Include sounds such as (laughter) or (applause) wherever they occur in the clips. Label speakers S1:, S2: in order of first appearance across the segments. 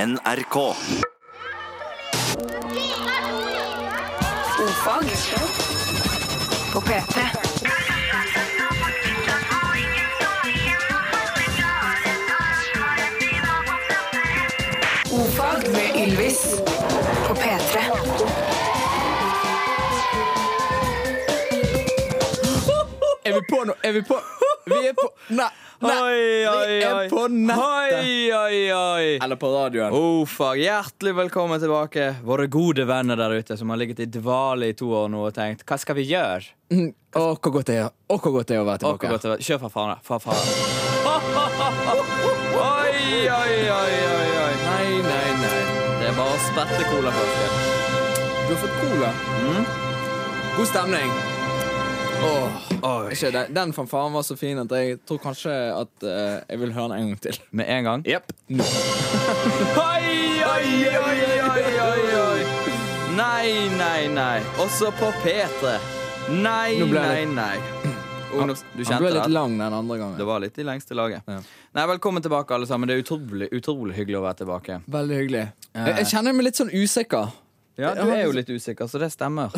S1: NRK.
S2: Ofag på P3. Ofag med Ylvis på P3.
S3: Er vi på nå? Er vi på? Vi er på Nei! nei.
S4: Oi, oi,
S3: Vi
S4: oi.
S3: er på nettet.
S4: Oi, oi, oi.
S3: Eller på radioen.
S4: Ofa, hjertelig velkommen tilbake, våre gode venner der ute som har ligget i dvale i to år nå og tenkt 'hva skal vi gjøre'?
S3: Mm, Å, hvor godt det er Å, hvor godt det er å være
S4: Og hvor
S3: tilbake.
S4: godt det var. Kjør for faen, da. For faen. Oi, oi, oi, oi, oi.
S3: Nei, nei, nei.
S4: Det er bare å spette cola først.
S3: Du har fått cola.
S4: Mm.
S3: God stemning. Åh, ikke det. Den fanfaren var så fin at jeg tror kanskje at eh, jeg vil høre den en gang til.
S4: Med en gang.
S3: Jepp. Nå.
S4: Oi, oi, oi, oi, oi, oi. Nei, nei, nei. Også på P3. Nei,
S3: Nå ble
S4: nei,
S3: det-
S4: nei.
S3: Han,
S4: Ungdoms... Du
S3: han ble
S4: kjente
S3: litt
S4: det?
S3: lang den andre gangen.
S4: Det var litt i lengste laget.
S3: Ja.
S4: Nei, Velkommen tilbake, alle sammen. Det er utrolig, utrolig hyggelig å være tilbake.
S3: Veldig hyggelig. Jeg, jeg kjenner meg litt sånn usikker.
S4: Ja, Du er jo litt usikker, så det
S3: (laughs)
S4: stemmer.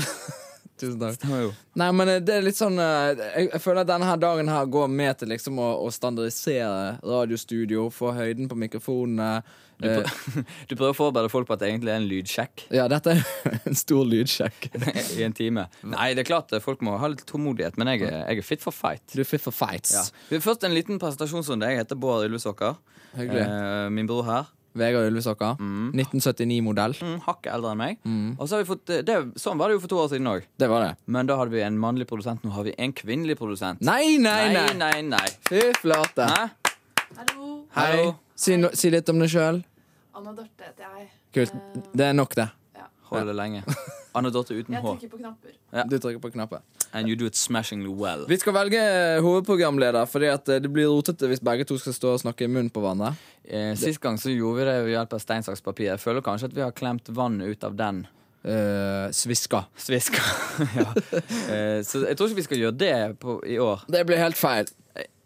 S3: Tusen takk.
S4: Det var jo.
S3: Nei, men eh, det er litt sånn eh, Jeg, jeg føler at denne her dagen her går med til liksom å, å standardisere radiostudio, få høyden på mikrofonene. Eh,
S4: (laughs) Du prøver å forberede folk på at det egentlig er en lydsjekk (laughs)
S3: ja, dette er (laughs) en stor lydsjekk.
S4: i en time. Nei, det er klart eh, folk må ha litt tålmodighet, men jeg, er- jeg er fit for fight.
S3: Du er fit for fights.
S4: Ja. Først en liten presentasjonsrunde. Jeg heter Bård Ylvesåker.
S3: Hyggelig.
S4: Eh, Min bror her.
S3: Vegard Ulvesaker. 1979-modell.
S4: Mm, Hakket eldre enn meg.
S3: Mm.
S4: Og så har vi fått eh, det, Sånn var det jo for to år siden òg.
S3: Det var det.
S4: Men da hadde vi en mannlig produsent. Nå har vi en kvinnelig produsent.
S3: Nei, nei, nei!
S4: nei, nei, nei.
S3: Fy flate.
S4: Hæ? Hallo.
S3: Si, no, si litt om deg sjøl.
S5: Anna Dorte heter jeg.
S3: Kult. Det er nok, det.
S4: Hold det lenge. Anne Dorthe uten
S5: Jeg
S4: H.
S5: trykker på knapper.
S4: Ja.
S3: Du trykker på knappen.
S4: And you do it smashingly well.
S3: Vi skal velge eh, hovedprogramleder, fordi at eh, det blir rotete hvis begge to skal stå og snakke i munnen på hverandre.
S4: Eh, sist gang så gjorde vi det ved hjelp av stein, saks, papir. Jeg føler kanskje at vi har klemt vann ut av den
S3: Eh, sviska.
S4: sviska. (laughs) ja. eh, så jeg tror ikke vi skal gjøre det på, i år.
S3: Det blir helt feil.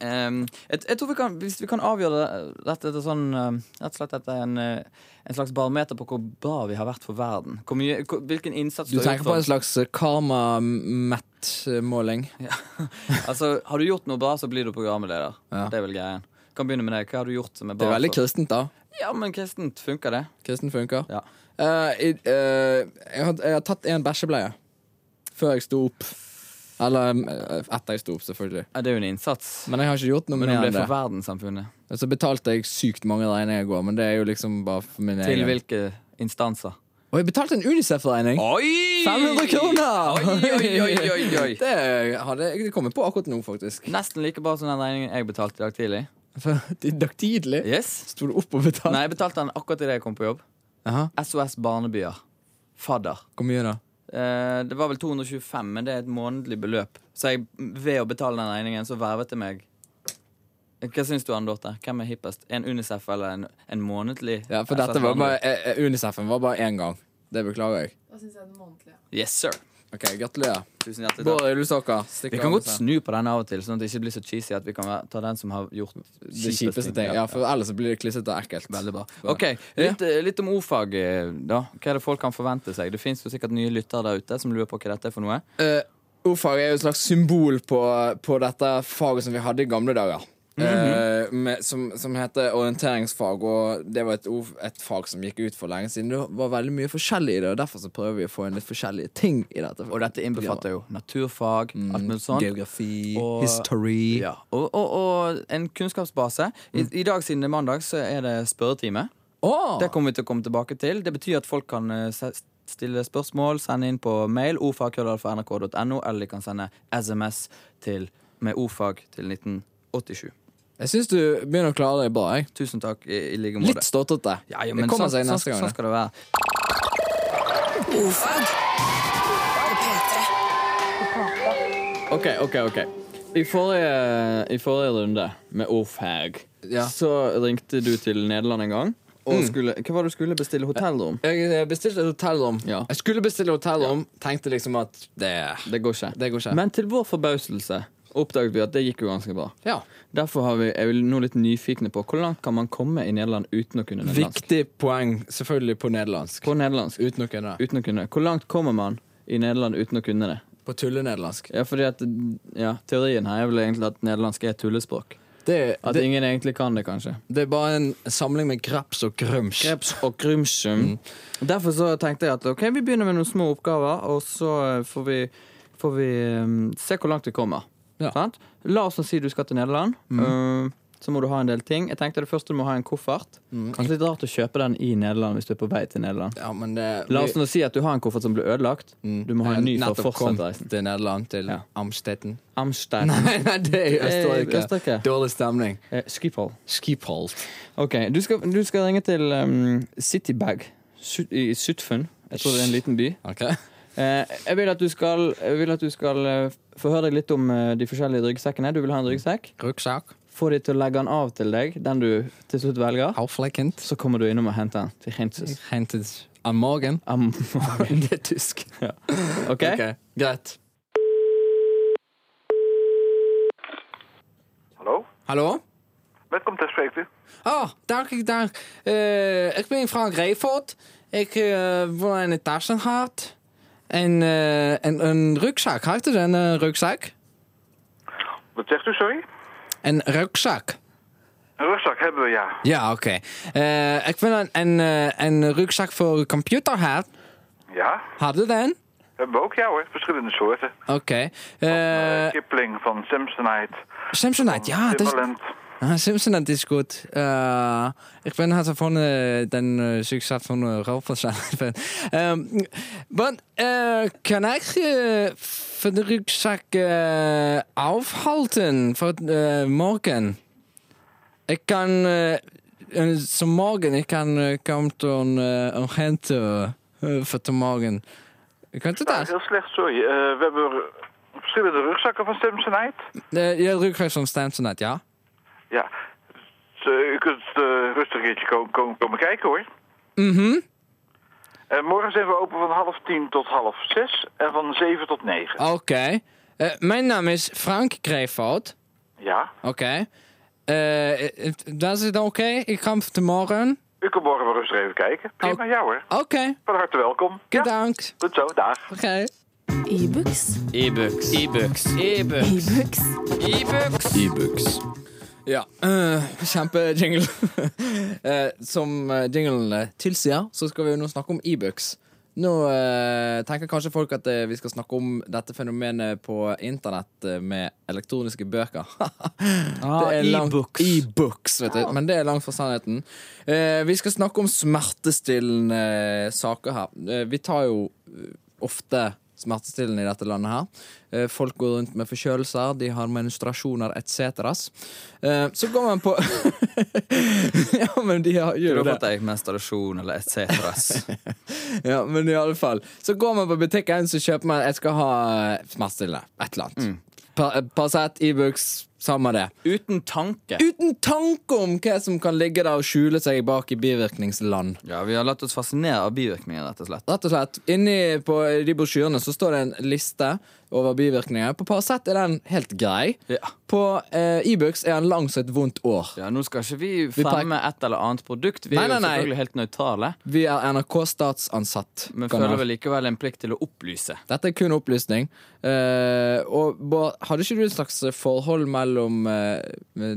S4: Ehm, jeg, jeg tror vi kan, Hvis vi kan avgjøre dette etter sånn eh, Rett og slett etter en, eh, en slags barometer på hvor bra vi har vært for verden. Hvor mye, hvor, hvilken innsats
S3: Du
S4: har
S3: tenker
S4: gjort
S3: på sånn?
S4: for
S3: en slags eh, karma-mett-måling?
S4: altså, Har du gjort noe bra, så blir du programleder.
S3: Ja.
S4: Det er vel greien. Kan begynne med det. Hva har du gjort som er
S3: Det
S4: bra?
S3: er veldig
S4: for-
S3: kristent, da.
S4: Ja, men kristent funker det.
S3: Kristen funker.
S4: Ja.
S3: Eh, i- eh, jeg, har, jeg har tatt en bæsjebleie før jeg sto opp. Eller eh, etter jeg sto opp, selvfølgelig.
S4: Ja, Det er jo en innsats.
S3: Men jeg har ikke gjort noe med
S4: Men om det
S3: det.
S4: er for verdenssamfunnet.
S3: Og Så betalte jeg sykt mange regninger i går, men det er jo liksom bare for min
S4: Til
S3: egen.
S4: hvilke instanser?
S3: Og jeg betalte en Unicef-regning!
S4: Oi!
S3: 500 kroner!
S4: Oi, oi, oi, oi, oi.
S3: Det hadde jeg kommet på akkurat nå, faktisk. (laughs)
S4: Nesten like bra som den regningen jeg betalte i dag tidlig.
S3: For I dag tidlig
S4: Yes
S3: sto du opp og betalte.
S4: Nei, jeg betalte den akkurat idet jeg kom på jobb.
S3: Jaha,
S4: SOS Barnebyer. Fadder.
S3: Hvor mye da?
S4: Eh, det var vel 225, men det er et månedlig beløp. Så jeg, ved å betale den regningen, så vervet det meg Hva syns du, Anne Dorthe? Hvem er hippest? En Unicef eller en, en månedlig?
S3: Ja, for
S4: SOS
S3: dette var bare,
S4: Barnebyer?
S3: eh, eh, Unicef-en var bare én gang. Det beklager jeg.
S5: Da syns jeg den månedlige.
S4: Yes, sir.
S3: Ok, Gratulerer.
S4: Tusen hjertelig takk.
S3: Bård Ulvsaker. stikk
S4: Vi kan
S3: av
S4: godt
S3: med seg.
S4: snu på den av og til, sånn at det ikke blir så cheesy at vi kan være- ta den som har gjort
S3: Det kjipeste ting. Ja, for ellers så blir det klissete og ekkelt.
S4: Veldig bra. Ok, litt, litt om ordfag, eh, da. Hva er det folk kan forvente seg? Det fins sikkert nye lyttere der ute som lurer på hva dette er for noe.
S3: Eh, ordfag er jo et slags symbol på, på dette faget som vi hadde i gamle dager.
S4: Mhm.
S3: Eh, med, som, som heter orienteringsfag, og det var et, ord, et fag som gikk ut for lenge siden. Det var veldig mye forskjellig i det, og derfor så prøver vi å få inn litt forskjellige ting i dette. Mm.
S4: Og dette innbefatter jo naturfag, alt mulig sånt.
S3: Geografi,
S4: Og-
S3: history
S4: Ja. Og, og, og en kunnskapsbase.
S3: Mm.
S4: I, I dag, siden det er mandag, så er det spørretime.
S3: Åh!
S4: Det kommer vi til å komme tilbake til. Det betyr at folk kan eh, se- stille spørsmål, sende inn på mail ordfag.nrk.no, eller de kan sende SMS til, med ordfag til 1987.
S3: Jeg syns du begynner å klare deg bra. Jeg.
S4: Tusen takk i, i like måte.
S3: Litt ståtete.
S4: Ja, ja,
S3: det
S4: men
S3: kommer
S4: sånn,
S3: seg
S4: sånn, sånn,
S3: neste gang.
S4: sånn skal det være.
S2: Ofag på P3.
S4: Ok, ok, ok I forrige, i forrige runde med Ofag
S3: Ja. Mm.
S4: Så ringte du til Nederland en gang Og skulle, hva var det du skulle bestille hotellrom?
S3: Jeg eh, bestilte et hotellrom.
S4: Ja.
S3: Jeg skulle bestille hotellrom, tenkte liksom at det,
S4: Det går ikke
S3: Det går ikke.
S4: Men til vår forbauselse oppdaget vi at det gikk jo ganske bra.
S3: Ja.
S4: Derfor har vi, er vi nå litt nyfikne på hvor langt kan man komme i Nederland uten å kunne nederlandsk.
S3: Viktig poeng, selvfølgelig på nederlandsk.
S4: På nederlandsk.
S3: Uten å kunne det.
S4: Uten å kunne. Hvor langt kommer man i Nederland uten å kunne det?
S3: På tullenederlandsk.
S4: Ja, fordi at, ja, Teorien her er vel egentlig at nederlandsk er et tullespråk.
S3: Det,
S4: At
S3: det,
S4: ingen egentlig kan det, kanskje.
S3: det er bare en samling med graps og grums.
S4: Kreps og grumsum.
S3: Mm.
S4: Derfor så tenkte jeg at ok, vi begynner med noen små oppgaver, og så eh, får vi, får vi eh, se hvor langt vi kommer.
S3: Ja. Mm.
S4: Sant? La oss nå si du skal til Nederland. Eh, så må du ha en del ting. Jeg tenkte det første du må ha en koffert. Kanskje litt rart å kjøpe den i Nederland hvis du er på vei til Nederland.
S3: Ja, men det, Mm.
S4: La oss nå si at du har en koffert som ble ødelagt. Du må ha en ny for å fortsette reisen.
S3: til Nederland, til
S4: Ja.
S3: Amstetten.
S4: Amstein.
S3: (laughs) Nei, nei, det er i Østerrike.
S4: Eh, Østerrike.
S3: Dårlig stemning.
S4: Eh, Schiphol.
S3: Skiphold.
S4: Ok, du skal, du skal ringe til um, Citybag Sut- i Sutfen. Jeg tror det er en liten by.
S3: Ok?
S4: Eh, jeg, vil at du skal, jeg vil at du skal eh, få høre deg litt om eh, de forskjellige ryggsekkene. Du vil ha en ryggsekk.
S3: Ruksak.
S4: Få de til å legge den av til deg, den du til slutt velger.
S3: Halflekkent.
S4: Så kommer du innom og henter den til Hintus.
S3: Hentet am morgen. (laughs)
S4: Am (laughs)
S3: det er tysk.
S4: OK?
S3: Ok, Greit.
S1: Hallo?
S3: Hallo?
S1: Welkom te spreken.
S3: Ah, dag, dag. Eh, ik ben Frank Reefort. Ik eh, wil een tassenhart. En, eh, en een rugzak. Heeft u een eh, rugzak?
S1: Wat zegt u, sorry?
S3: Een rugzak.
S1: Een rugzak hebben we, ja.
S3: Ja, oké. Eh, ik wil een, een, eh, een rugzak voor uw computer hebben.
S1: Ja,
S3: Had u dan?
S1: hebben we ook, ja hoor. Verschillende soorten.
S3: Oké.
S1: Eh,
S3: Eh,
S1: Kipling van Samsonite.
S3: Samsonite, ja. Dat is,
S1: Timbaland.
S3: ah, Samsonite is goed. Eh, ik ben hard van eh, den eh, succes van uh, Rolf van Zanen. Ehm, Want eh, kan ik eh, van de rugzak eh, afhalten voor eh, morgen? Ik kan... eh, eh, zo morgen, ik kan eh, komen tot een, eh, een Gent eh, eh, voor de morgen. Kunt u
S1: Nou,
S3: dat?
S1: heel slecht, sorry. Eh, we hebben verschillende rugzakken van Samsonite.
S3: Eh, Ja, de rugzak van Samsonite, ja.
S1: Ja. Dus, eh, u kunt eh, rustig een keertje komen, komen, komen kijken, hoor.
S3: Mhm.
S1: Eh, morgen zijn we open van half tien tot half zes en van zeven tot negen.
S3: Oké. Eh, mijn naam is Frank Kreefout.
S1: Ja.
S3: Oké. Eh, eh, eh, dat is het oké. Ik kom vanmorgen.
S1: U kan morgen wel rustig even kijken.
S3: Oh.
S1: Prima, ja hoor.
S3: Oké,
S1: Van harte welkom. Ja,
S3: bedankt.
S1: goed zo, dag.
S3: Oké.
S2: E-books.
S4: E-books. E-books. E-books.
S2: E-books.
S3: E-books. Ja. eh, Kjempejingle. (laughs) Eh, som eh, jinglene tilsier, så skal vi jo nå snakke om e-books. Nå eh, tenker kanskje folk at eh, vi skal snakke om dette fenomenet på internett eh, med elektroniske bøker. (laughs)
S4: Ah,
S3: Det er langt-
S4: e-books.
S3: E-books, vet du. Men det er langt fra sannheten. Eh, vi skal snakke om smertestillende saker her. Eh, vi tar jo eh, ofte smertestillende i dette landet her. Eh, folk går rundt med forkjølelser, de har menstruasjoner etc. Eh, så går man på (laughs) Ja, men de har, gjør
S4: Du
S3: jo
S4: har
S3: det.
S4: fått deg menstruasjon eller et cetras.
S3: Ja, men i alle fall Så går man på butikken Så kjøper man Jeg skal ha eh, smertestillende Et eller
S4: Mm.
S3: annet Pa- eh, Paracet, e-books Samme det
S4: (laughs) Uten tanke.
S3: Uten tanke om hva som kan ligge der Og skjule seg bak i bivirkningsland
S4: Ja, Vi har latt oss fascinere av bivirkninger, rett og slett.
S3: Rett og slett Inni på de brosjyrene Så står det en liste Over bivirkninger På Paracet er den helt grei
S4: Ja.
S3: På eh, e-books er den lang som et vondt år
S4: Ja, Nå skal ikke vi
S3: tar-
S4: fremme et eller annet produkt. Vi
S3: Nei,
S4: er jo
S3: nei, nei.
S4: selvfølgelig helt nøytrale,
S3: Vi er NRK statsansatt
S4: men
S3: Kan ha-
S4: føler vel likevel en plikt til å opplyse.
S3: Dette er kun opplysning. Eh, og Bård, hadde ikke du et slags forhold mellom eh,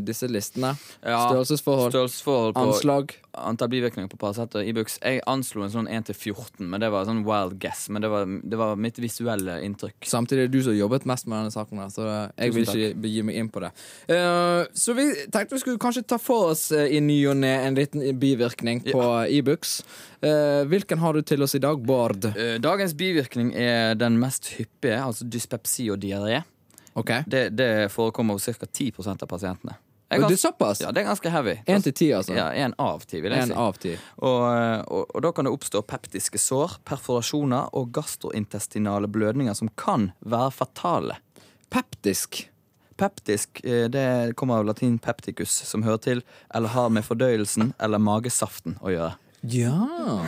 S3: disse listene?
S4: Ja,
S3: Størrelsesforhold?
S4: Størrelsesforhold på
S3: Anslag?
S4: antall bivirkninger på Paracet og Ibux. Jeg anslo en sånn 1 til 14, men det var sånn wild guess. Men det var, det var mitt visuelle inntrykk.
S3: Samtidig er det du som jobbet mest med denne saken, her, så jeg vil
S4: Tusen
S3: ikke begi meg inn på det. Eh, så vi tenkte vi skulle kanskje ta for oss eh, i ny og ne en liten bivirkning på e-books. Eh, hvilken har du til oss i dag, Bård?
S4: Eh, Dagens bivirkning er den mest hyppige, altså dyspepsi og diaré.
S3: Ok.
S4: Det, det forekommer hos ca. 10 av pasientene. Jeg
S3: Og
S4: har-
S3: det er såpass?
S4: ja, det er ganske heavy.
S3: Én til ti, altså?
S4: Ja, en av ti, vil jeg
S3: Én
S4: si.
S3: av ti.
S4: Og, eh, og, og da kan det oppstå peptiske sår, perforasjoner og gastrointestinale blødninger som kan være fatale.
S3: Peptisk.
S4: Peptisk eh, det kommer av latin pepticus, som hører til eller har med fordøyelsen eller magesaften å gjøre.
S3: Ja.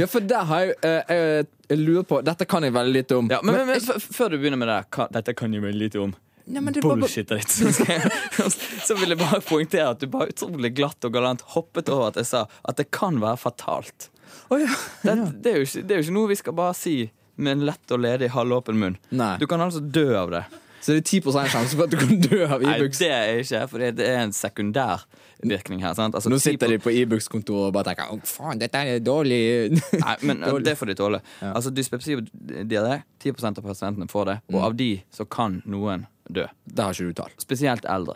S3: ja, for der har jeg, eh, jeg, jeg lurer på Dette kan jeg veldig lite om.
S4: Ja, men, men, men f- f- Før du begynner med det, her, hva, dette kan jeg vel lite om.
S3: Nei, men det var bare-
S4: bullshitet (laughs) ditt. så vil jeg bare poengtere at du bare utrolig glatt og galant hoppet over at jeg sa at det kan være fatalt.
S3: Å, ja.
S4: Det, det, er jo ikke, det er jo ikke noe vi skal bare si med en lett og ledig halvåpen munn.
S3: Nei.
S4: Du kan altså dø av det.
S3: Så det er 10 sjanse for at du kan dø av
S4: Nei,
S3: Ibux.
S4: det er ikke, for det er en sekundær virkning her. Sant? Altså,
S3: Nå
S4: 10%
S3: sitter de på Ibux-kontoret og bare tenker Å, faen, dette er dårlig.
S4: Nei, men
S3: Dårlig.
S4: det får de tåle. Altså, Dyspepsi og diaré, 10 av pasientene får det,
S3: Mm.
S4: og av de så kan noen dø.
S3: (laughs) Det har ikke du tall.
S4: Spesielt eldre.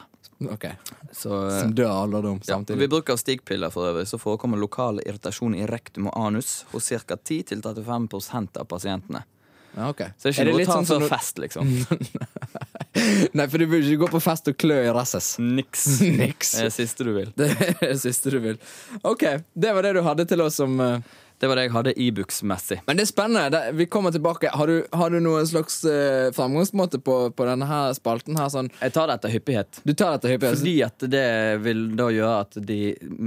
S3: Ok.
S4: Så, eh,
S3: Som dør av alderdom
S4: Ja,
S3: samtidig.
S4: ved bruk av stigpiller for øvrig, så forekommer lokal irritasjon i rektum og anus hos ca. 10-35 av pasientene.
S3: Ja, ok.
S4: Så det er ikke
S3: det
S4: noe å
S3: litt
S4: ta
S3: sånn som
S4: før
S3: når-
S4: fest, liksom.
S3: (laughs) Nei, for du burde ikke gå på fest og klø i rasses.
S4: (laughs) Niks.
S3: Niks.
S4: Det er det siste du vil.
S3: Det er det siste du vil. Ok, det var det du hadde til oss som eh,
S4: Det var det jeg hadde Ibux-messig.
S3: Men det er spennende. Det, vi kommer tilbake. Har du, har du noen slags eh, fremgangsmåte på, på denne her spalten her? Sånn,
S4: Jeg tar det etter hyppighet.
S3: du tar dette hyppig?
S4: Fordi at det vil da gjøre at de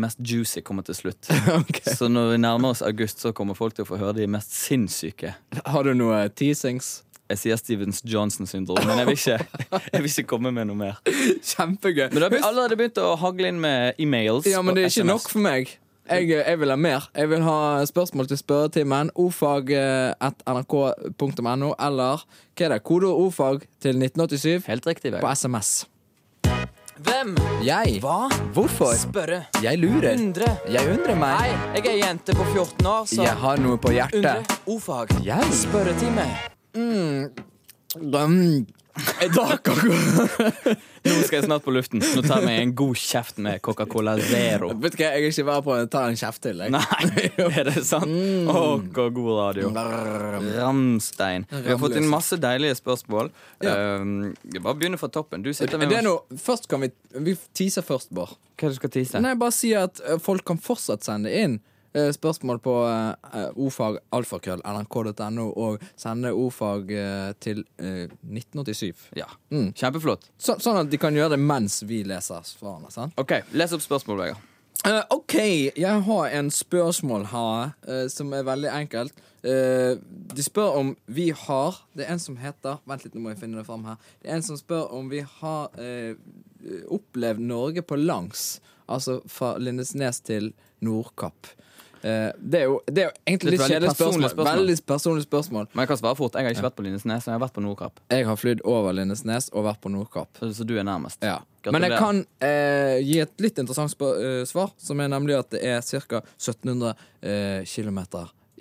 S4: mest juicy kommer til slutt.
S3: (laughs) Ok.
S4: Så når vi nærmer oss august, så kommer folk til å få høre de mest sinnssyke.
S3: Har du noe teasings? (laughs)
S4: Jeg sier Stevens Johnson-syndrom, men jeg vil, ikke, (laughs) jeg vil ikke komme med noe mer.
S3: Kjempegøy.
S4: Men da har vi allerede begynt å hagle inn med e-mails.
S3: Ja, men
S4: og
S3: det er ikke
S4: SMS.
S3: nok for meg. Jeg, eh, jeg vil ha mer. Jeg vil ha spørsmål til spørretimen. eh, Ordfag.nrk.no, eller hva er det? Kodeord ordfag til 1987
S4: Helt riktig,
S3: på
S4: Vegard.
S3: SMS.
S4: Hvem?
S3: Jeg
S4: Hva?
S3: Hvorfor?
S4: Spørre.
S3: Jeg lurer.
S4: Undre.
S3: Jeg undrer
S4: Hei,
S3: meg.
S4: jeg er jente på 14 år, så
S3: Jeg har noe på
S4: Undre.
S3: hjertet.
S4: Ordfag.
S3: Jeg.
S4: Spørretime.
S3: Mm. Da kan
S4: Nå skal jeg snart på luften. Nå tar vi en god kjeft med Coca-Cola Zero.
S3: (laughs) (laughs) Vet du hva, jeg er ikke verre på å ta en kjeft til. Jeg.
S4: Nei, er det sant?
S3: Mm.
S4: Åh, hvor god radio. Ramstein. Vi har fått inn masse deilige spørsmål.
S3: Ja.
S4: Um, vi bare begynner fra toppen. Du sitter
S3: Er
S4: med
S3: det noe, først kan vi Vi teaser først, Bård.
S4: Hva er det du skal tise?
S3: Nei, bare si at eh, folk kan fortsatt sende inn eh, spørsmål på uh, ordfagalfakrøll.nrk.no, og sende ordfag eh, til eh, 1987.
S4: Ja.
S3: Mm.
S4: Kjempeflott.
S3: Så, sånn at de kan gjøre det mens vi leser svarene. sant?
S4: Ok, Les opp spørsmål, Vegard.
S3: Eh, OK, jeg har en spørsmål her eh, som er veldig enkelt. Eh, de spør om vi har Det er en som heter Vent litt, nå må jeg finne det fram her. Det er en som spør om vi har eh, opplevd Norge på langs. Altså fra Lindesnes til Nordkapp. Eh, det, er jo, det er jo
S4: Det er
S3: egentlig
S4: et
S3: litt
S4: veldig
S3: kjedelig
S4: personlig
S3: spørsmål.
S4: spørsmål.
S3: Veldig personlig spørsmål.
S4: Men jeg kan svare fort. Jeg har ikke vært på Lindesnes, men jeg har vært på Nordkapp.
S3: Jeg har flydd over Lindesnes og vært på Nordkapp.
S4: Så, så du er nærmest.
S3: Ja.
S4: Gratulerer.
S3: Men jeg kan eh, gi et litt interessant spør- eh, svar, som er nemlig at det er ca. 1700 eh, km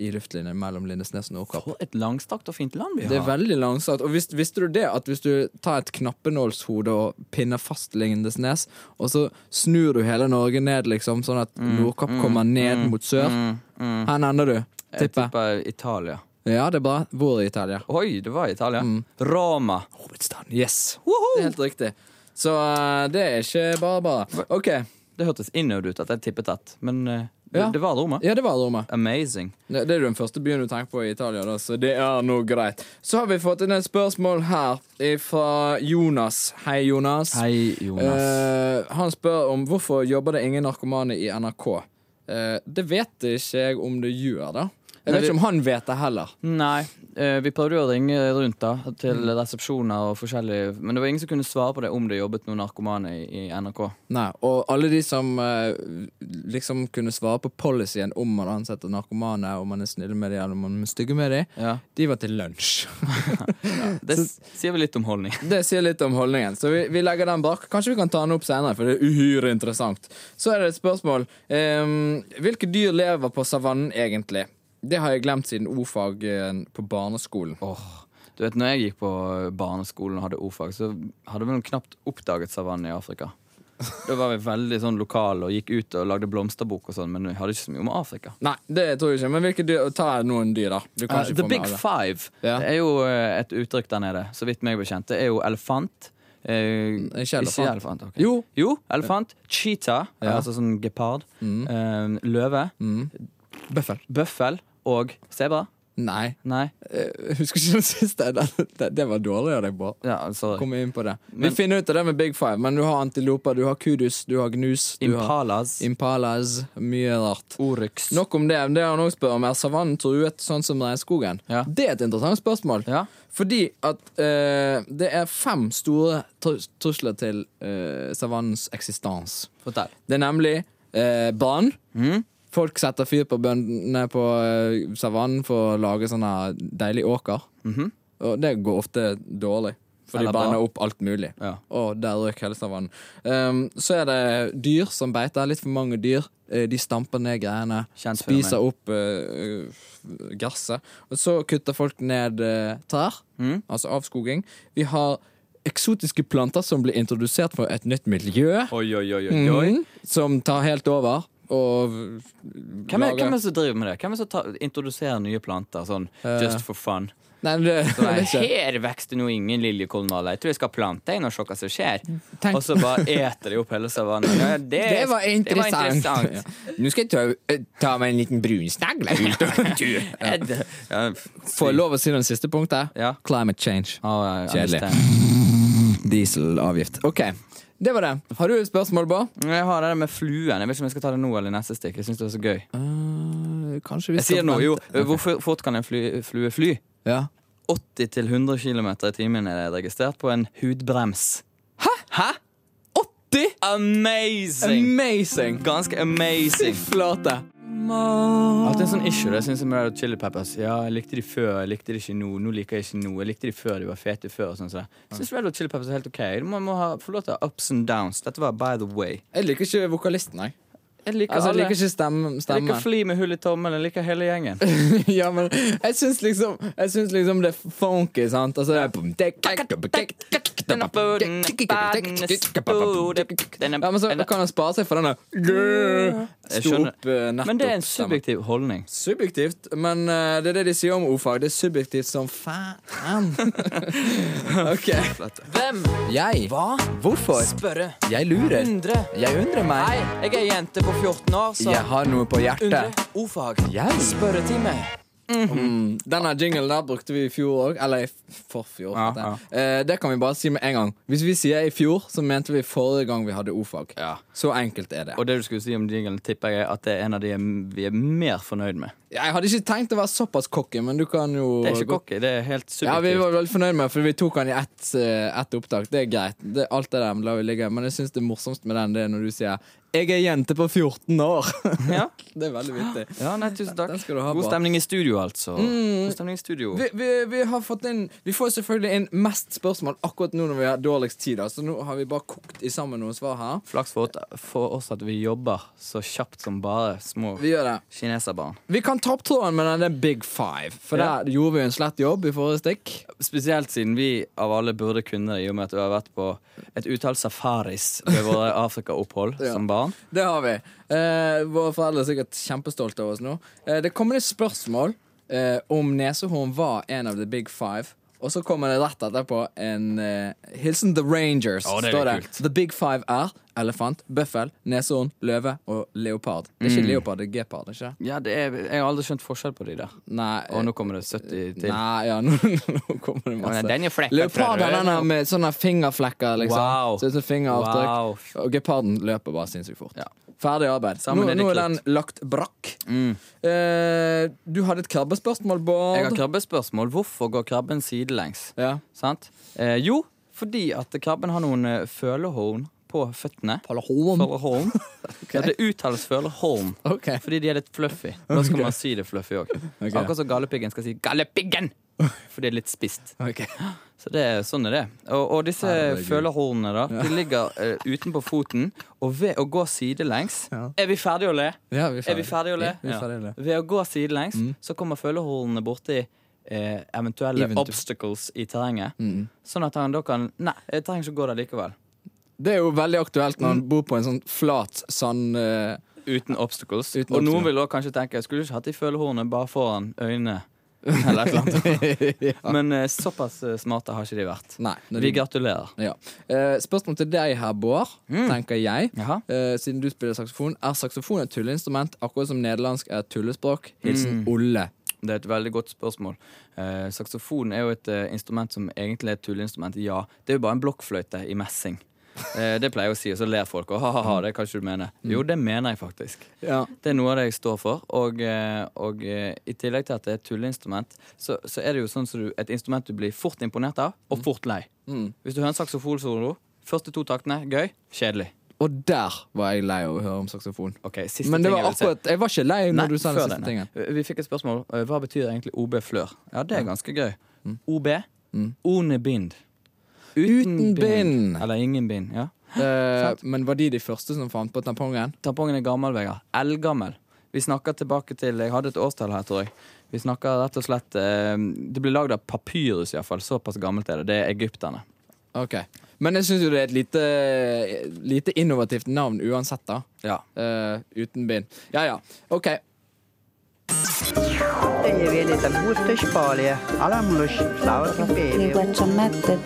S3: i luftlinje mellom Lindesnes og Nordkapp.
S4: For et langstrakt og fint land vi
S3: Det er
S4: har.
S3: veldig langsomt. Og visste, visste du det at hvis du tar et knappenålshode og pinner fast Lindesnes, og så snur du hele Norge ned, liksom, sånn at
S4: Mm,
S3: Nordkapp kommer ned mot sør, her ender du,
S4: Jeg
S3: tipper jeg.
S4: tipper Italia.
S3: Ja, det er bra. Hvor i Italia?
S4: Oi, det var Italia.
S3: Mm.
S4: Roma.
S3: Hovedstaden. Yes. Det er helt riktig. Så eh, det er ikke bare bare. OK.
S4: Det hørtes innøvd ut at jeg tippet ett, men eh, det,
S3: Ja.
S4: det var Roma.
S3: Ja, det var Roma.
S4: Amazing.
S3: Ja, Det er den første byen du tenker på i Italia, da, så det er nå greit. Så har vi fått inn et spørsmål her fra Jonas. Hei, Jonas.
S4: Hei, Jonas.
S3: Eh, han spør om hvorfor jobber det ingen narkomane i NRK. Eh, det vet ikke jeg om det gjør, da. Jeg
S4: Nei,
S3: vet
S4: vi-
S3: ikke om han vet det heller.
S4: Nei, eh, vi prøvde jo å ringe rundt da, til
S3: Mm.
S4: resepsjoner og forskjellige Men det var ingen som kunne svare på det om det jobbet noen narkomane i, i NRK.
S3: Nei, Og alle de som eh, liksom kunne svare på policyen om man ansetter narkomane, om man er snill med dem eller om man er stygge med dem,
S4: Ja.
S3: de var til lunsj.
S4: Det s- sier vel litt om holdning.
S3: Det sier litt om holdningen, så vi, vi legger den bak. Kanskje vi kan ta den opp senere, for det er uhyre interessant. Så er det et spørsmål. Ehm, hvilke dyr lever på savannen egentlig? Det har jeg glemt siden o-fag eh, på barneskolen.
S4: Du vet, når jeg gikk på barneskolen og hadde ordfag, så hadde vi vel knapt oppdaget savannen i Afrika. Da var vi veldig sånn lokale og gikk ut og lagde blomsterbok og sånn, men vi hadde ikke så mye om Afrika.
S3: Nei, det tror jeg ikke, men hvilke dyr Ta noen dyr, da. Du kan
S4: Eh,
S3: ikke
S4: the
S3: få
S4: Big
S3: med alle.
S4: Five
S3: Ja.
S4: Det er jo eh, et uttrykk der nede, så vidt meg bekjent. Det er jo elefant. eh,
S3: Ikke elefant.
S4: ok.
S3: Jo.
S4: elefant. Cheetah,
S3: Ja. Mm.
S4: altså sånn gepard. eh, løve.
S3: Bøffel.
S4: Bøffel og sebra.
S3: Nei.
S4: Nei?
S3: Eh, Husker ikke den siste. (laughs) Det, det, det var dårlig av deg, Bård.
S4: Ja, sorry.
S3: Kom inn på det.
S4: Men-
S3: Vi finner ut av det med Big Five, men du har antiloper, du har kudus, du har gnus. Du har
S4: Impalas.
S3: impalas. Mye rart.
S4: Oryx.
S3: Nok om det. Det han også spør om, er savannen truet sånn som regnskogen?
S4: Ja.
S3: Det er et interessant spørsmål.
S4: Ja.
S3: Fordi at eh, det er fem store trus- trusler til eh, savannens eksistens.
S4: Fortell.
S3: Det er nemlig eh, brann.
S4: Mm.
S3: Folk setter fyr på bøndene på eh, savannen for å lage sånne deilige åker. Og det går ofte dårlig, for
S4: Mhm.
S3: de
S4: Eller bra.
S3: banner opp alt mulig.
S4: Ja.
S3: Og der røk hele savannen. Um, så er det dyr som beiter. Litt for mange dyr. Eh, De stamper ned greiene,
S4: Kjent
S3: spiser
S4: fenomen.
S3: opp eh, eh, gresset. Og så kutter folk ned eh, trær,
S4: Mm.
S3: altså avskoging. Vi har eksotiske planter som blir introdusert for et nytt miljø.
S4: Oi, oi, oi, oi, oi.
S3: Mhm. Som tar helt over og
S4: Hvem er,
S3: lager-
S4: hvem er det som driver med det? Hvem er det som tar- introduserer nye planter sånn
S3: Eh.
S4: just for fun?
S3: Nei, det, jeg
S4: Nei,
S3: (laughs) vet ikke.
S4: her vokste nå ingen liljekolonialer. Jeg tror jeg skal plante en og se hva som skjer.
S3: Tenk-
S4: Og så bare eter de opp hele savannen. Ja, det,
S3: (laughs) Det var interessant.
S4: Det var interessant.
S3: Nå skal jeg ta, eh, ta meg en liten brunsnegle ut på tur.
S4: (laughs) Ja. det- Ja.
S3: Får jeg lov å si den siste punktet?
S4: Ja.
S3: Climate change.
S4: Å, jeg
S3: Kjedelig.
S4: understand.
S3: Dieselavgift. Ok, det var det. Har du et spørsmål, Bård?
S4: Jeg har det der med fluen. Jeg vet ikke om jeg skal ta det nå eller i neste stikk. Jeg synes det var så gøy.
S3: Eh, kanskje vi
S4: Jeg sier nå jo, eh, Hvor fort kan en fly, flue fly?
S3: Ja.
S4: 80-100 km i timen er det registrert på en hudbrems. Hæ? Hæ? 80? Amazing!
S3: Amazing!
S4: Ganske amazing.
S3: Flate.
S4: At det er en sånn issue, det synes jeg med Red Hot Chili Peppers. Ja, jeg likte de før, jeg likte de ikke nå. Nå liker jeg ikke nå. Jeg likte de før, de var fete før. og sånn sånn. Jeg synes Red Hot Chili Peppers er helt ok. Man må ha få lov til å ha ups and downs. Dette var by the way.
S3: Jeg liker ikke vokalisten, jeg.
S4: Jeg liker
S3: Altså, jeg
S4: alle.
S3: liker ikke stemmen.
S4: jeg
S3: stemmen.
S4: liker Fli med hull i tommelen. Jeg liker hele (laughs) gjengen.
S3: (laughs) ja, men jeg syns liksom, jeg syns liksom det er funky, sant? Altså, det er ja, men så kan han spare seg for denne
S4: Jeg
S3: Stå
S4: skjønner.
S3: opp eh, nettopp
S4: Men det er en subjektiv holdning.
S3: Subjektivt, men eh, det er det de sier om ordfag. Det er subjektivt som faen.
S4: (laughs)
S3: ok.
S4: Hvem?
S3: Jeg.
S4: Hva?
S3: Hvorfor?
S4: Spørre.
S3: Jeg lurer.
S4: Undre.
S3: Jeg undrer meg.
S4: jeg er jente på 14 år,
S3: Jeg har noe på hjertet.
S4: Ordfag.
S3: Jeg.
S4: Spørretime. Mm-hmm.
S3: Mm. Denne jinglen der brukte vi i fjor òg. Eller i f- forfjor.
S4: Ja,
S3: heter det. Eh, det kan vi bare si med en gang. Hvis vi sier i fjor, så mente vi forrige gang vi hadde ordfag. Så enkelt er det.
S4: Og det du skulle si om jinglen, tipper jeg at det er en av de vi er mer fornøyd med.
S3: Jeg hadde ikke tenkt å være såpass cocky, men du kan jo
S4: Det er ikke cocky, det er helt
S3: Ja,
S4: subjektivt.
S3: Vi var veldig fornøyd med det, for vi tok den i ett, eh, ett opptak. Det er greit. Det, alt det der lar vi ligge. Men jeg syns det morsomst med den det er når du sier 'Jeg er jente på 14 år'. (laughs)
S4: Ja.
S3: det er veldig vittig.
S4: Ja, nei, tusen takk.
S3: Den skal du ha,
S4: God
S3: Bård.
S4: stemning i studio, altså. God stemning i studio.
S3: Vi, vi, vi har fått inn Vi får selvfølgelig inn mest spørsmål akkurat nå når vi har dårligst tid. da. Så nå har vi bare kokt i sammen noen svar her.
S4: Flaks for, at- for oss at vi jobber så kjapt som bare små
S3: Vi gjør det.
S4: kineserbarn.
S3: Vi kan ta opp tråden med denne Big Five, for
S4: Ja.
S3: der gjorde vi en slett jobb i forrige stikk.
S4: Spesielt siden vi av alle burde kunne det, i og med at vi har vært på et utall safaris ved våre
S3: (laughs)
S4: Afrika-opphold
S3: Ja.
S4: som barn.
S3: Det har vi. Eh, våre foreldre er sikkert kjempestolte av oss nå. Eh, det kommer et spørsmål eh, om Nesehorn var en av the big five. Og så kommer det rett etterpå en eh, hilsen The Rangers.
S4: Å, det er
S3: står
S4: litt kult.
S3: The big five er elefant, bøffel, neshorn, løve og leopard. Det
S4: Mm.
S3: er ikke leopard, det er gepard. ikke? det?
S4: Ja, det er, Jeg har aldri skjønt forskjell på de der.
S3: Nei,
S4: Og nå kommer det 70 til.
S3: Nei, ja, (laughs) nå, nå kommer det masse.
S4: Ja, men den er flekket fra
S3: Leoparden
S4: røven.
S3: den er med sånne fingerflekker, liksom.
S4: Wow.
S3: Ser ut som
S4: Wow.
S3: fingeravtrykk. Og geparden løper bare sinnssykt fort.
S4: Ja.
S3: Ferdig arbeid.
S4: Sammen
S3: nå,
S4: er det
S3: nå er den
S4: klokt.
S3: lagt brakk. Eh, du hadde et krabbespørsmål, Bård.
S4: Mm. Jeg har krabbespørsmål. Hvorfor går krabben sidelengs?
S3: ja.
S4: Sant? Eh, jo, fordi at krabben har noen eh, følehorn på føttene.
S3: Palahorn. (laughs)
S4: Følehorn. Ja, det uttales følehorn.
S3: Ok. (laughs)
S4: Fordi de er litt fluffy. Da skal man si det fluffy òg.
S3: Ok.
S4: Akkurat som gallepiggen skal si 'gallepiggen'! For det er litt spisst.
S3: Ok.
S4: Så det er, sånn er det. Og, og disse
S3: Herregud.
S4: følehornene da, de ligger eh, utenpå foten, og ved å gå sidelengs Er vi ferdige å le?
S3: Ja, vi er
S4: Er vi ferdige Mm. å le?
S3: Vi, vi er ferdige å le.
S4: Ved å gå sidelengs så kommer følehornene borti eh, eventuelle
S3: Eventu-
S4: obstacles i terrenget. Sånn at han da kan Nei, jeg trenger ikke å gå der likevel.
S3: Det er jo veldig aktuelt når han bor på en sånn flat sand
S4: (laughs)
S3: eh,
S4: Uten obstacles.
S3: Uten
S4: og
S3: obstacles.
S4: noen vil også kanskje tenke jeg skulle ikke hatt de følehornene bare foran øynene. Eller et eller annet. (laughs) Men eh, såpass eh, smarte har ikke de vært.
S3: Nei. når
S4: Vi
S3: de-
S4: gratulerer.
S3: Ja. Eh, spørsmål til deg her, Bård,
S4: Mm.
S3: tenker jeg.
S4: Jaha.
S3: Eh, siden
S4: Mm.
S3: du spiller saksofon. Er saksofon et tulleinstrument, akkurat som nederlandsk er et tullespråk? Hilsen Olle.
S4: Det er et veldig godt spørsmål. Eh, saksofon er jo et eh, instrument som egentlig er et tulleinstrument. Ja, det er jo bare en blokkfløyte i messing. Eh, det pleier jeg å si, og så ler folk. Og ha-ha-ha, det kan ikke du mene.
S3: Mm.
S4: Jo, det mener jeg faktisk.
S3: Ja.
S4: Det er noe av det jeg står for. Og, eh, og eh, i tillegg til at det er et tulleinstrument, så, så er det jo sånn som du, et instrument du blir fort imponert av,
S3: Mm.
S4: og fort lei. Hvis du hører en saksofonsolo, første to taktene, gøy, kjedelig.
S3: Og der var jeg lei av å høre om saksofon.
S4: Ok, siste
S3: Men det
S4: ting
S3: var
S4: jeg vil si.
S3: akkurat, jeg var ikke lei når
S4: Nei,
S3: du sa den
S4: før
S3: siste
S4: denne.
S3: tingen.
S4: Vi fikk et spørsmål. eh, Hva betyr egentlig OB Flør? Ja, Mm. det er ganske gøy. OB One bind.
S3: Uten bind.
S4: Eller ingen bind. ja
S3: Eh, men var de de første som fant på tampongen?
S4: Tampongen er gammel, Vegard. Eldgammel. Vi snakker tilbake til Jeg hadde et årstall her, tror jeg. Vi snakker rett og slett eh, Det ble lagd av papyrus, iallfall. Såpass gammelt er det. Det er egypterne.
S3: Ok. Men jeg syns jo det er et lite, lite innovativt navn uansett, da.
S4: Ja.
S3: Eh, uten bind. Ja ja, OK.
S6: Bienvenidos al gusto Hispania. Hablamos sabes
S7: Ni
S6: imperio.
S7: guacamate,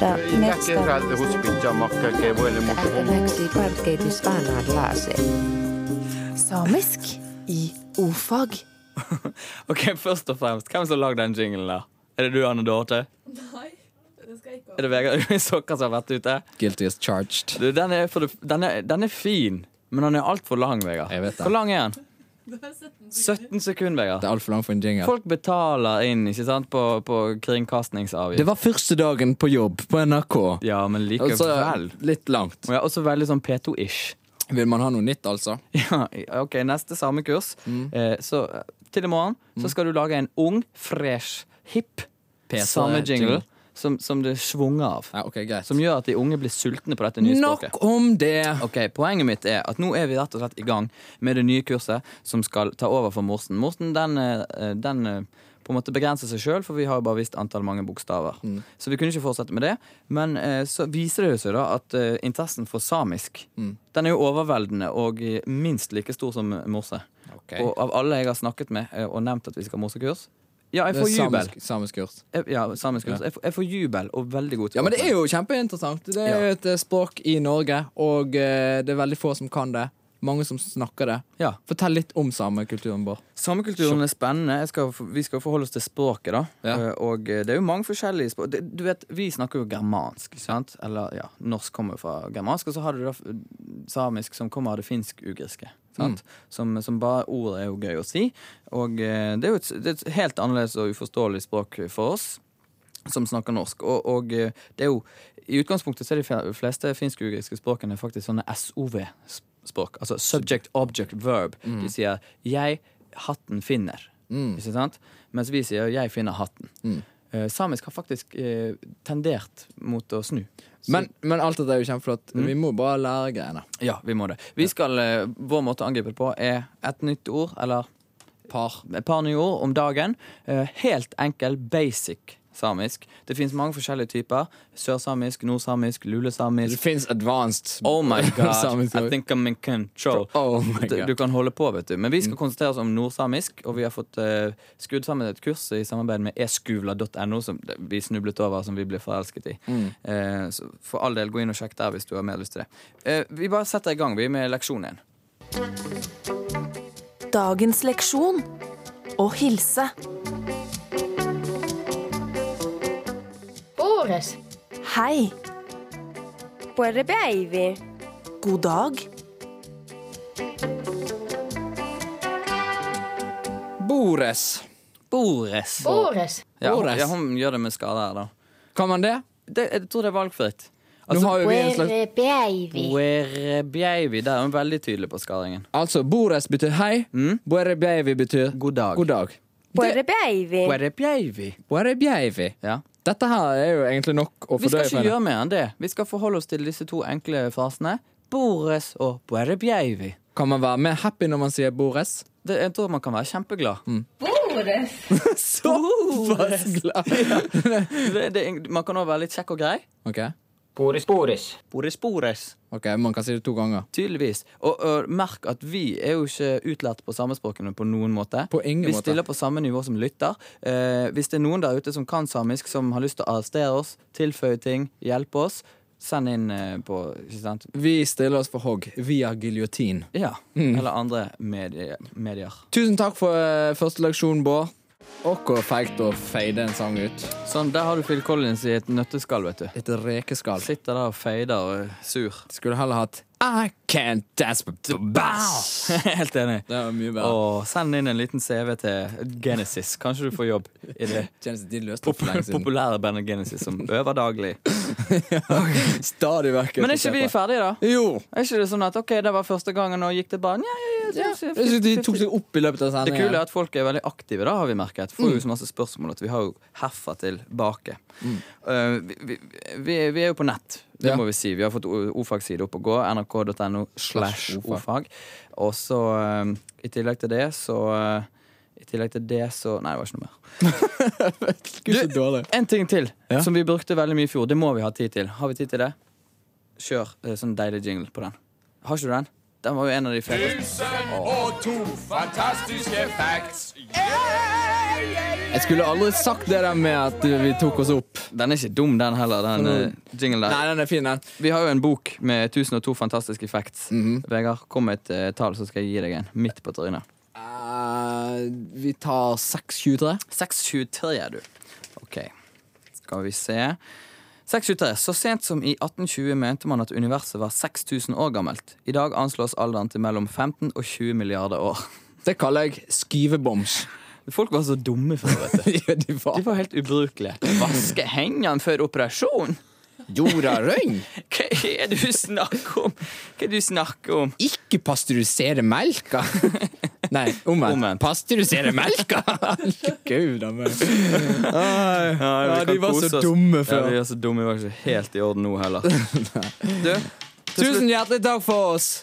S7: Da, next time. ääntäväksi parkeetis vanhaan laaseen.
S2: Samisk i ordfag.
S4: OK, først og fremst, hvem som har lagd den jinglen der? Er det du, Anne Dorte?
S5: Nei, det skal jeg ikke
S4: Er
S5: ha.
S4: det Vegard (laughs) Sokker som har vært ute?
S3: Guilty as charged.
S4: Du, den, er for det, den, er, den er fin, men den er altfor lang, Vegard.
S3: Jeg vet det.
S4: Hvor lang er den?
S5: Det er 17 sekunder.
S4: 17 sekunder, Vegard.
S3: Det er altfor langt for en jingle.
S4: Folk betaler inn ikke sant, på, på kringkastingsavgift.
S3: Det var første dagen på jobb på NRK.
S4: Ja, men
S3: Altså,
S4: likevel.
S3: litt langt.
S4: Og ja, også veldig sånn P2-ish.
S3: Vil man ha noe nytt, altså?
S4: (laughs) Ja, ok, neste samekurs.
S3: Mm.
S4: Eh, så eh, til i morgen så skal du lage en ung, fresh, hipp
S3: P2
S4: samejingle
S3: jingle.
S4: som, som det svunger av.
S3: Ja, ok, greit.
S4: Som gjør at de unge blir sultne på dette nye språket.
S3: Nok om det!
S4: Ok, Poenget mitt er at nå er vi rett og slett i gang med det nye kurset som skal ta over for Morsen. Morsen den, eh, den eh, på en måte begrenser seg sjøl, for vi har jo bare visst antall mange bokstaver.
S3: Mm.
S4: Så vi kunne ikke fortsette med det. Men eh, så viser det jo seg da at eh, interessen for samisk
S3: Mm.
S4: den er jo overveldende og eh, minst like stor som eh, morse.
S3: Ok.
S4: Og av alle jeg har snakket med eh, og nevnt at vi skal ha morsekurs Ja, jeg
S3: Det
S4: får
S3: er
S4: jubel.
S3: samisk, samisk kurs.
S4: Jeg, ja, samisk kurs. Jeg, får, jeg får jubel og veldig god
S3: Ja, men det er jo kjempeinteressant. Det er jo et eh, språk i Norge, og eh, det er veldig få som kan det. Mange som snakker det.
S4: Ja.
S3: Fortell litt om samekulturen vår.
S4: Samekulturen er spennende. Jeg skal, vi skal forholde oss til språket, da.
S3: Ja.
S4: Eh, Og eh, det er jo mange forskjellige språk. Det- Du vet, vi snakker jo germansk, ikke sant? Eller ja, norsk kommer fra germansk, og så har du da f- samisk som kommer av det finsk-ugriske. Sant? Som, som bare ordet er jo gøy å si. Og eh, det er jo et, det er et helt annerledes og uforståelig språk for oss som snakker norsk. Og, og eh, det er jo I utgangspunktet så er de fe- fleste finsk-ugriske språkene faktisk sånne SOV-språk. Altså subject, object, verb. De sier 'jeg hatten finner'. Ikke sant? Mens vi sier 'jeg finner hatten'. Eh, samisk har faktisk eh, tendert mot å snu. Så-
S3: Men, men alt dette er jo kjempeflott. Vi må bare lære greiene.
S4: ja, vi må det. Vi skal, eh, vår måte å angripe det på er et nytt ord, eller par, et par nye ord om dagen. Eh, helt enkel, basic samisk. Det finnes mange forskjellige typer. Sørsamisk, nordsamisk,
S3: Det
S4: lulesamisk.
S3: fins advanced
S4: Oh
S3: (laughs)
S4: my god,
S3: samisk
S4: I
S3: språk.
S4: think I'm in control.
S3: Oh my
S4: Du,
S3: god.
S4: du kan holde på, vet du. Men vi skal konsentrere oss om nordsamisk, og vi har fått eh, skrudd sammen et kurs i samarbeid med eskuvla.no, som det- vi snublet over, som vi ble forelsket i. Eh, så for all del, gå inn og sjekk der hvis du har mer lyst til det. Eh, vi bare setter i gang, vi, med leksjon én.
S2: Dagens leksjon å hilse.
S8: Åres.
S2: Hei,
S8: Buenas baby.
S2: god dag,
S3: Bores.
S4: Bores.
S8: Åres.
S4: Ja, hun,
S3: Bores.
S4: ja, hun gjør det med skader her, da.
S3: Kan man det?
S4: Det, jeg tror det er valgfritt.
S3: Nå
S4: Altså,
S3: har jo vi en slags
S8: Buenas baby.
S4: Buerebjeivi, der er hun veldig tydelig på skadingen.
S3: Altså, Bores betyr hei. Mm. Buerebjeivi betyr
S4: God dag.
S3: god dag.
S8: Buenas baby.
S4: Buerebjeivi.
S3: Buerebjeivi.
S4: Ja.
S3: Dette her er jo egentlig nok å
S4: Vi skal
S3: fordøye
S4: ikke
S3: for henne.
S4: gjøre mer enn det. Vi skal forholde oss til disse to enkle frasene. Bores og buerebjeivi.
S3: Kan man være mer happy når man sier Bores?
S4: Det, jeg tror man kan være kjempeglad. (laughs)
S3: (laughs) Såpass glad!
S4: Det, det, man kan òg være litt kjekk og grei.
S3: Ok,
S6: Boris Boris.
S4: Bores, bores.
S3: ok, Man kan si det to ganger.
S4: Tydeligvis. Og, og merk at vi er jo ikke utlært på samespråkene på noen måte.
S3: På ingen
S4: vi
S3: måte.
S4: stiller på samme nivå som lytter. Eh, hvis det er noen der ute som kan samisk, som har lyst til å arrestere oss, tilføye ting, hjelpe oss, send inn eh, på ikke sant?
S3: Vi stiller oss for hogg via giljotin.
S4: Mm. Ja. Eller andre medie, medier.
S3: Tusen takk for eh, første leksjon, Bård. Og hvor feigt å fade en sang ut.
S4: Sånn, Der har du Phil Collins i et nøtteskall, vet du.
S3: Et rekeskall.
S4: Sitter der og feider og er sur. (laughs)
S3: Skulle heller hatt I can't dance but the bass.
S4: Helt enig.
S3: Det var mye bedre.
S4: Og send inn en liten CV til Genesis. Kanskje du får jobb i (laughs) det
S3: Kjennes de løste opp
S4: pop
S3: for lenge siden. (laughs)
S4: populære bandet Genesis, som øver daglig.
S3: Stadig vekk.
S4: (laughs) Men er ikke vi ferdige, da?
S3: Jo.
S4: Er ikke det sånn at ok, det var første gangen, og gikk det bare ja, ja, ja,
S3: Ja.
S4: ja, ja,
S3: Jeg synes De tok seg opp i løpet av
S4: Det kule
S3: sendingen.
S4: er at folk er veldig aktive, da, har vi merket. Får jo så masse spørsmål at vi har jo herfra tilbake. Eh, vi, vi, vi, vi er jo på nett, det
S3: Ja.
S4: må vi si. Vi har fått O- O-fagside opp og gå. nrk.no slash ofag. Og så, eh, i tillegg til det, så eh, I tillegg til det, så Nei, det var ikke noe mer.
S3: Gud, så dårlig.
S4: En ting til
S3: Ja.
S4: som vi brukte veldig mye i fjor. Det må vi ha tid til. Har vi tid til det? Kjør eh, sånn deilig jingle på den. Har ikke du den? Den var jo en av de feteste.
S3: Jeg skulle aldri sagt det der med at vi tok oss opp.
S4: Den er ikke dum, den heller. Den eh, jinglen der.
S3: Nei, den er fin, den.
S4: Vi har jo en bok med 1002 fantastiske facts.
S3: Mhm.
S4: Vegard, kom med et eh, tall, så skal jeg gi deg en. Midt på trynet.
S3: Eh, vi tar 623.
S4: 623, er du. OK. Skal vi se. 623. Så sent som i 1820 mente man at universet var 6000 år gammelt. I dag anslås alderen til mellom 15 og 20 milliarder år. (laughs)
S3: Det kaller jeg (laughs) skyveboms.
S4: Folk var så dumme før, vet du.
S3: Ja, de var
S4: De var helt ubrukelige. (laughs) Vaske hendene før operasjon?
S3: jorda røng.
S4: Hva er det du snakker om? Hva er det du snakker om?
S3: Ikke pasteurisere melka. (laughs) Nei, omvendt.
S4: Omvendt.
S3: Pasteurisere melka! (laughs) Herregud, da, men.
S4: Nei,
S3: Ja,
S4: vi kan
S3: de var
S4: kose
S3: så
S4: oss.
S3: dumme
S4: Ja,
S3: før.
S4: de var så dumme, vi var ikke helt i orden nå heller. Du, til
S3: Tusen
S4: slutt,
S3: hjertelig takk for oss.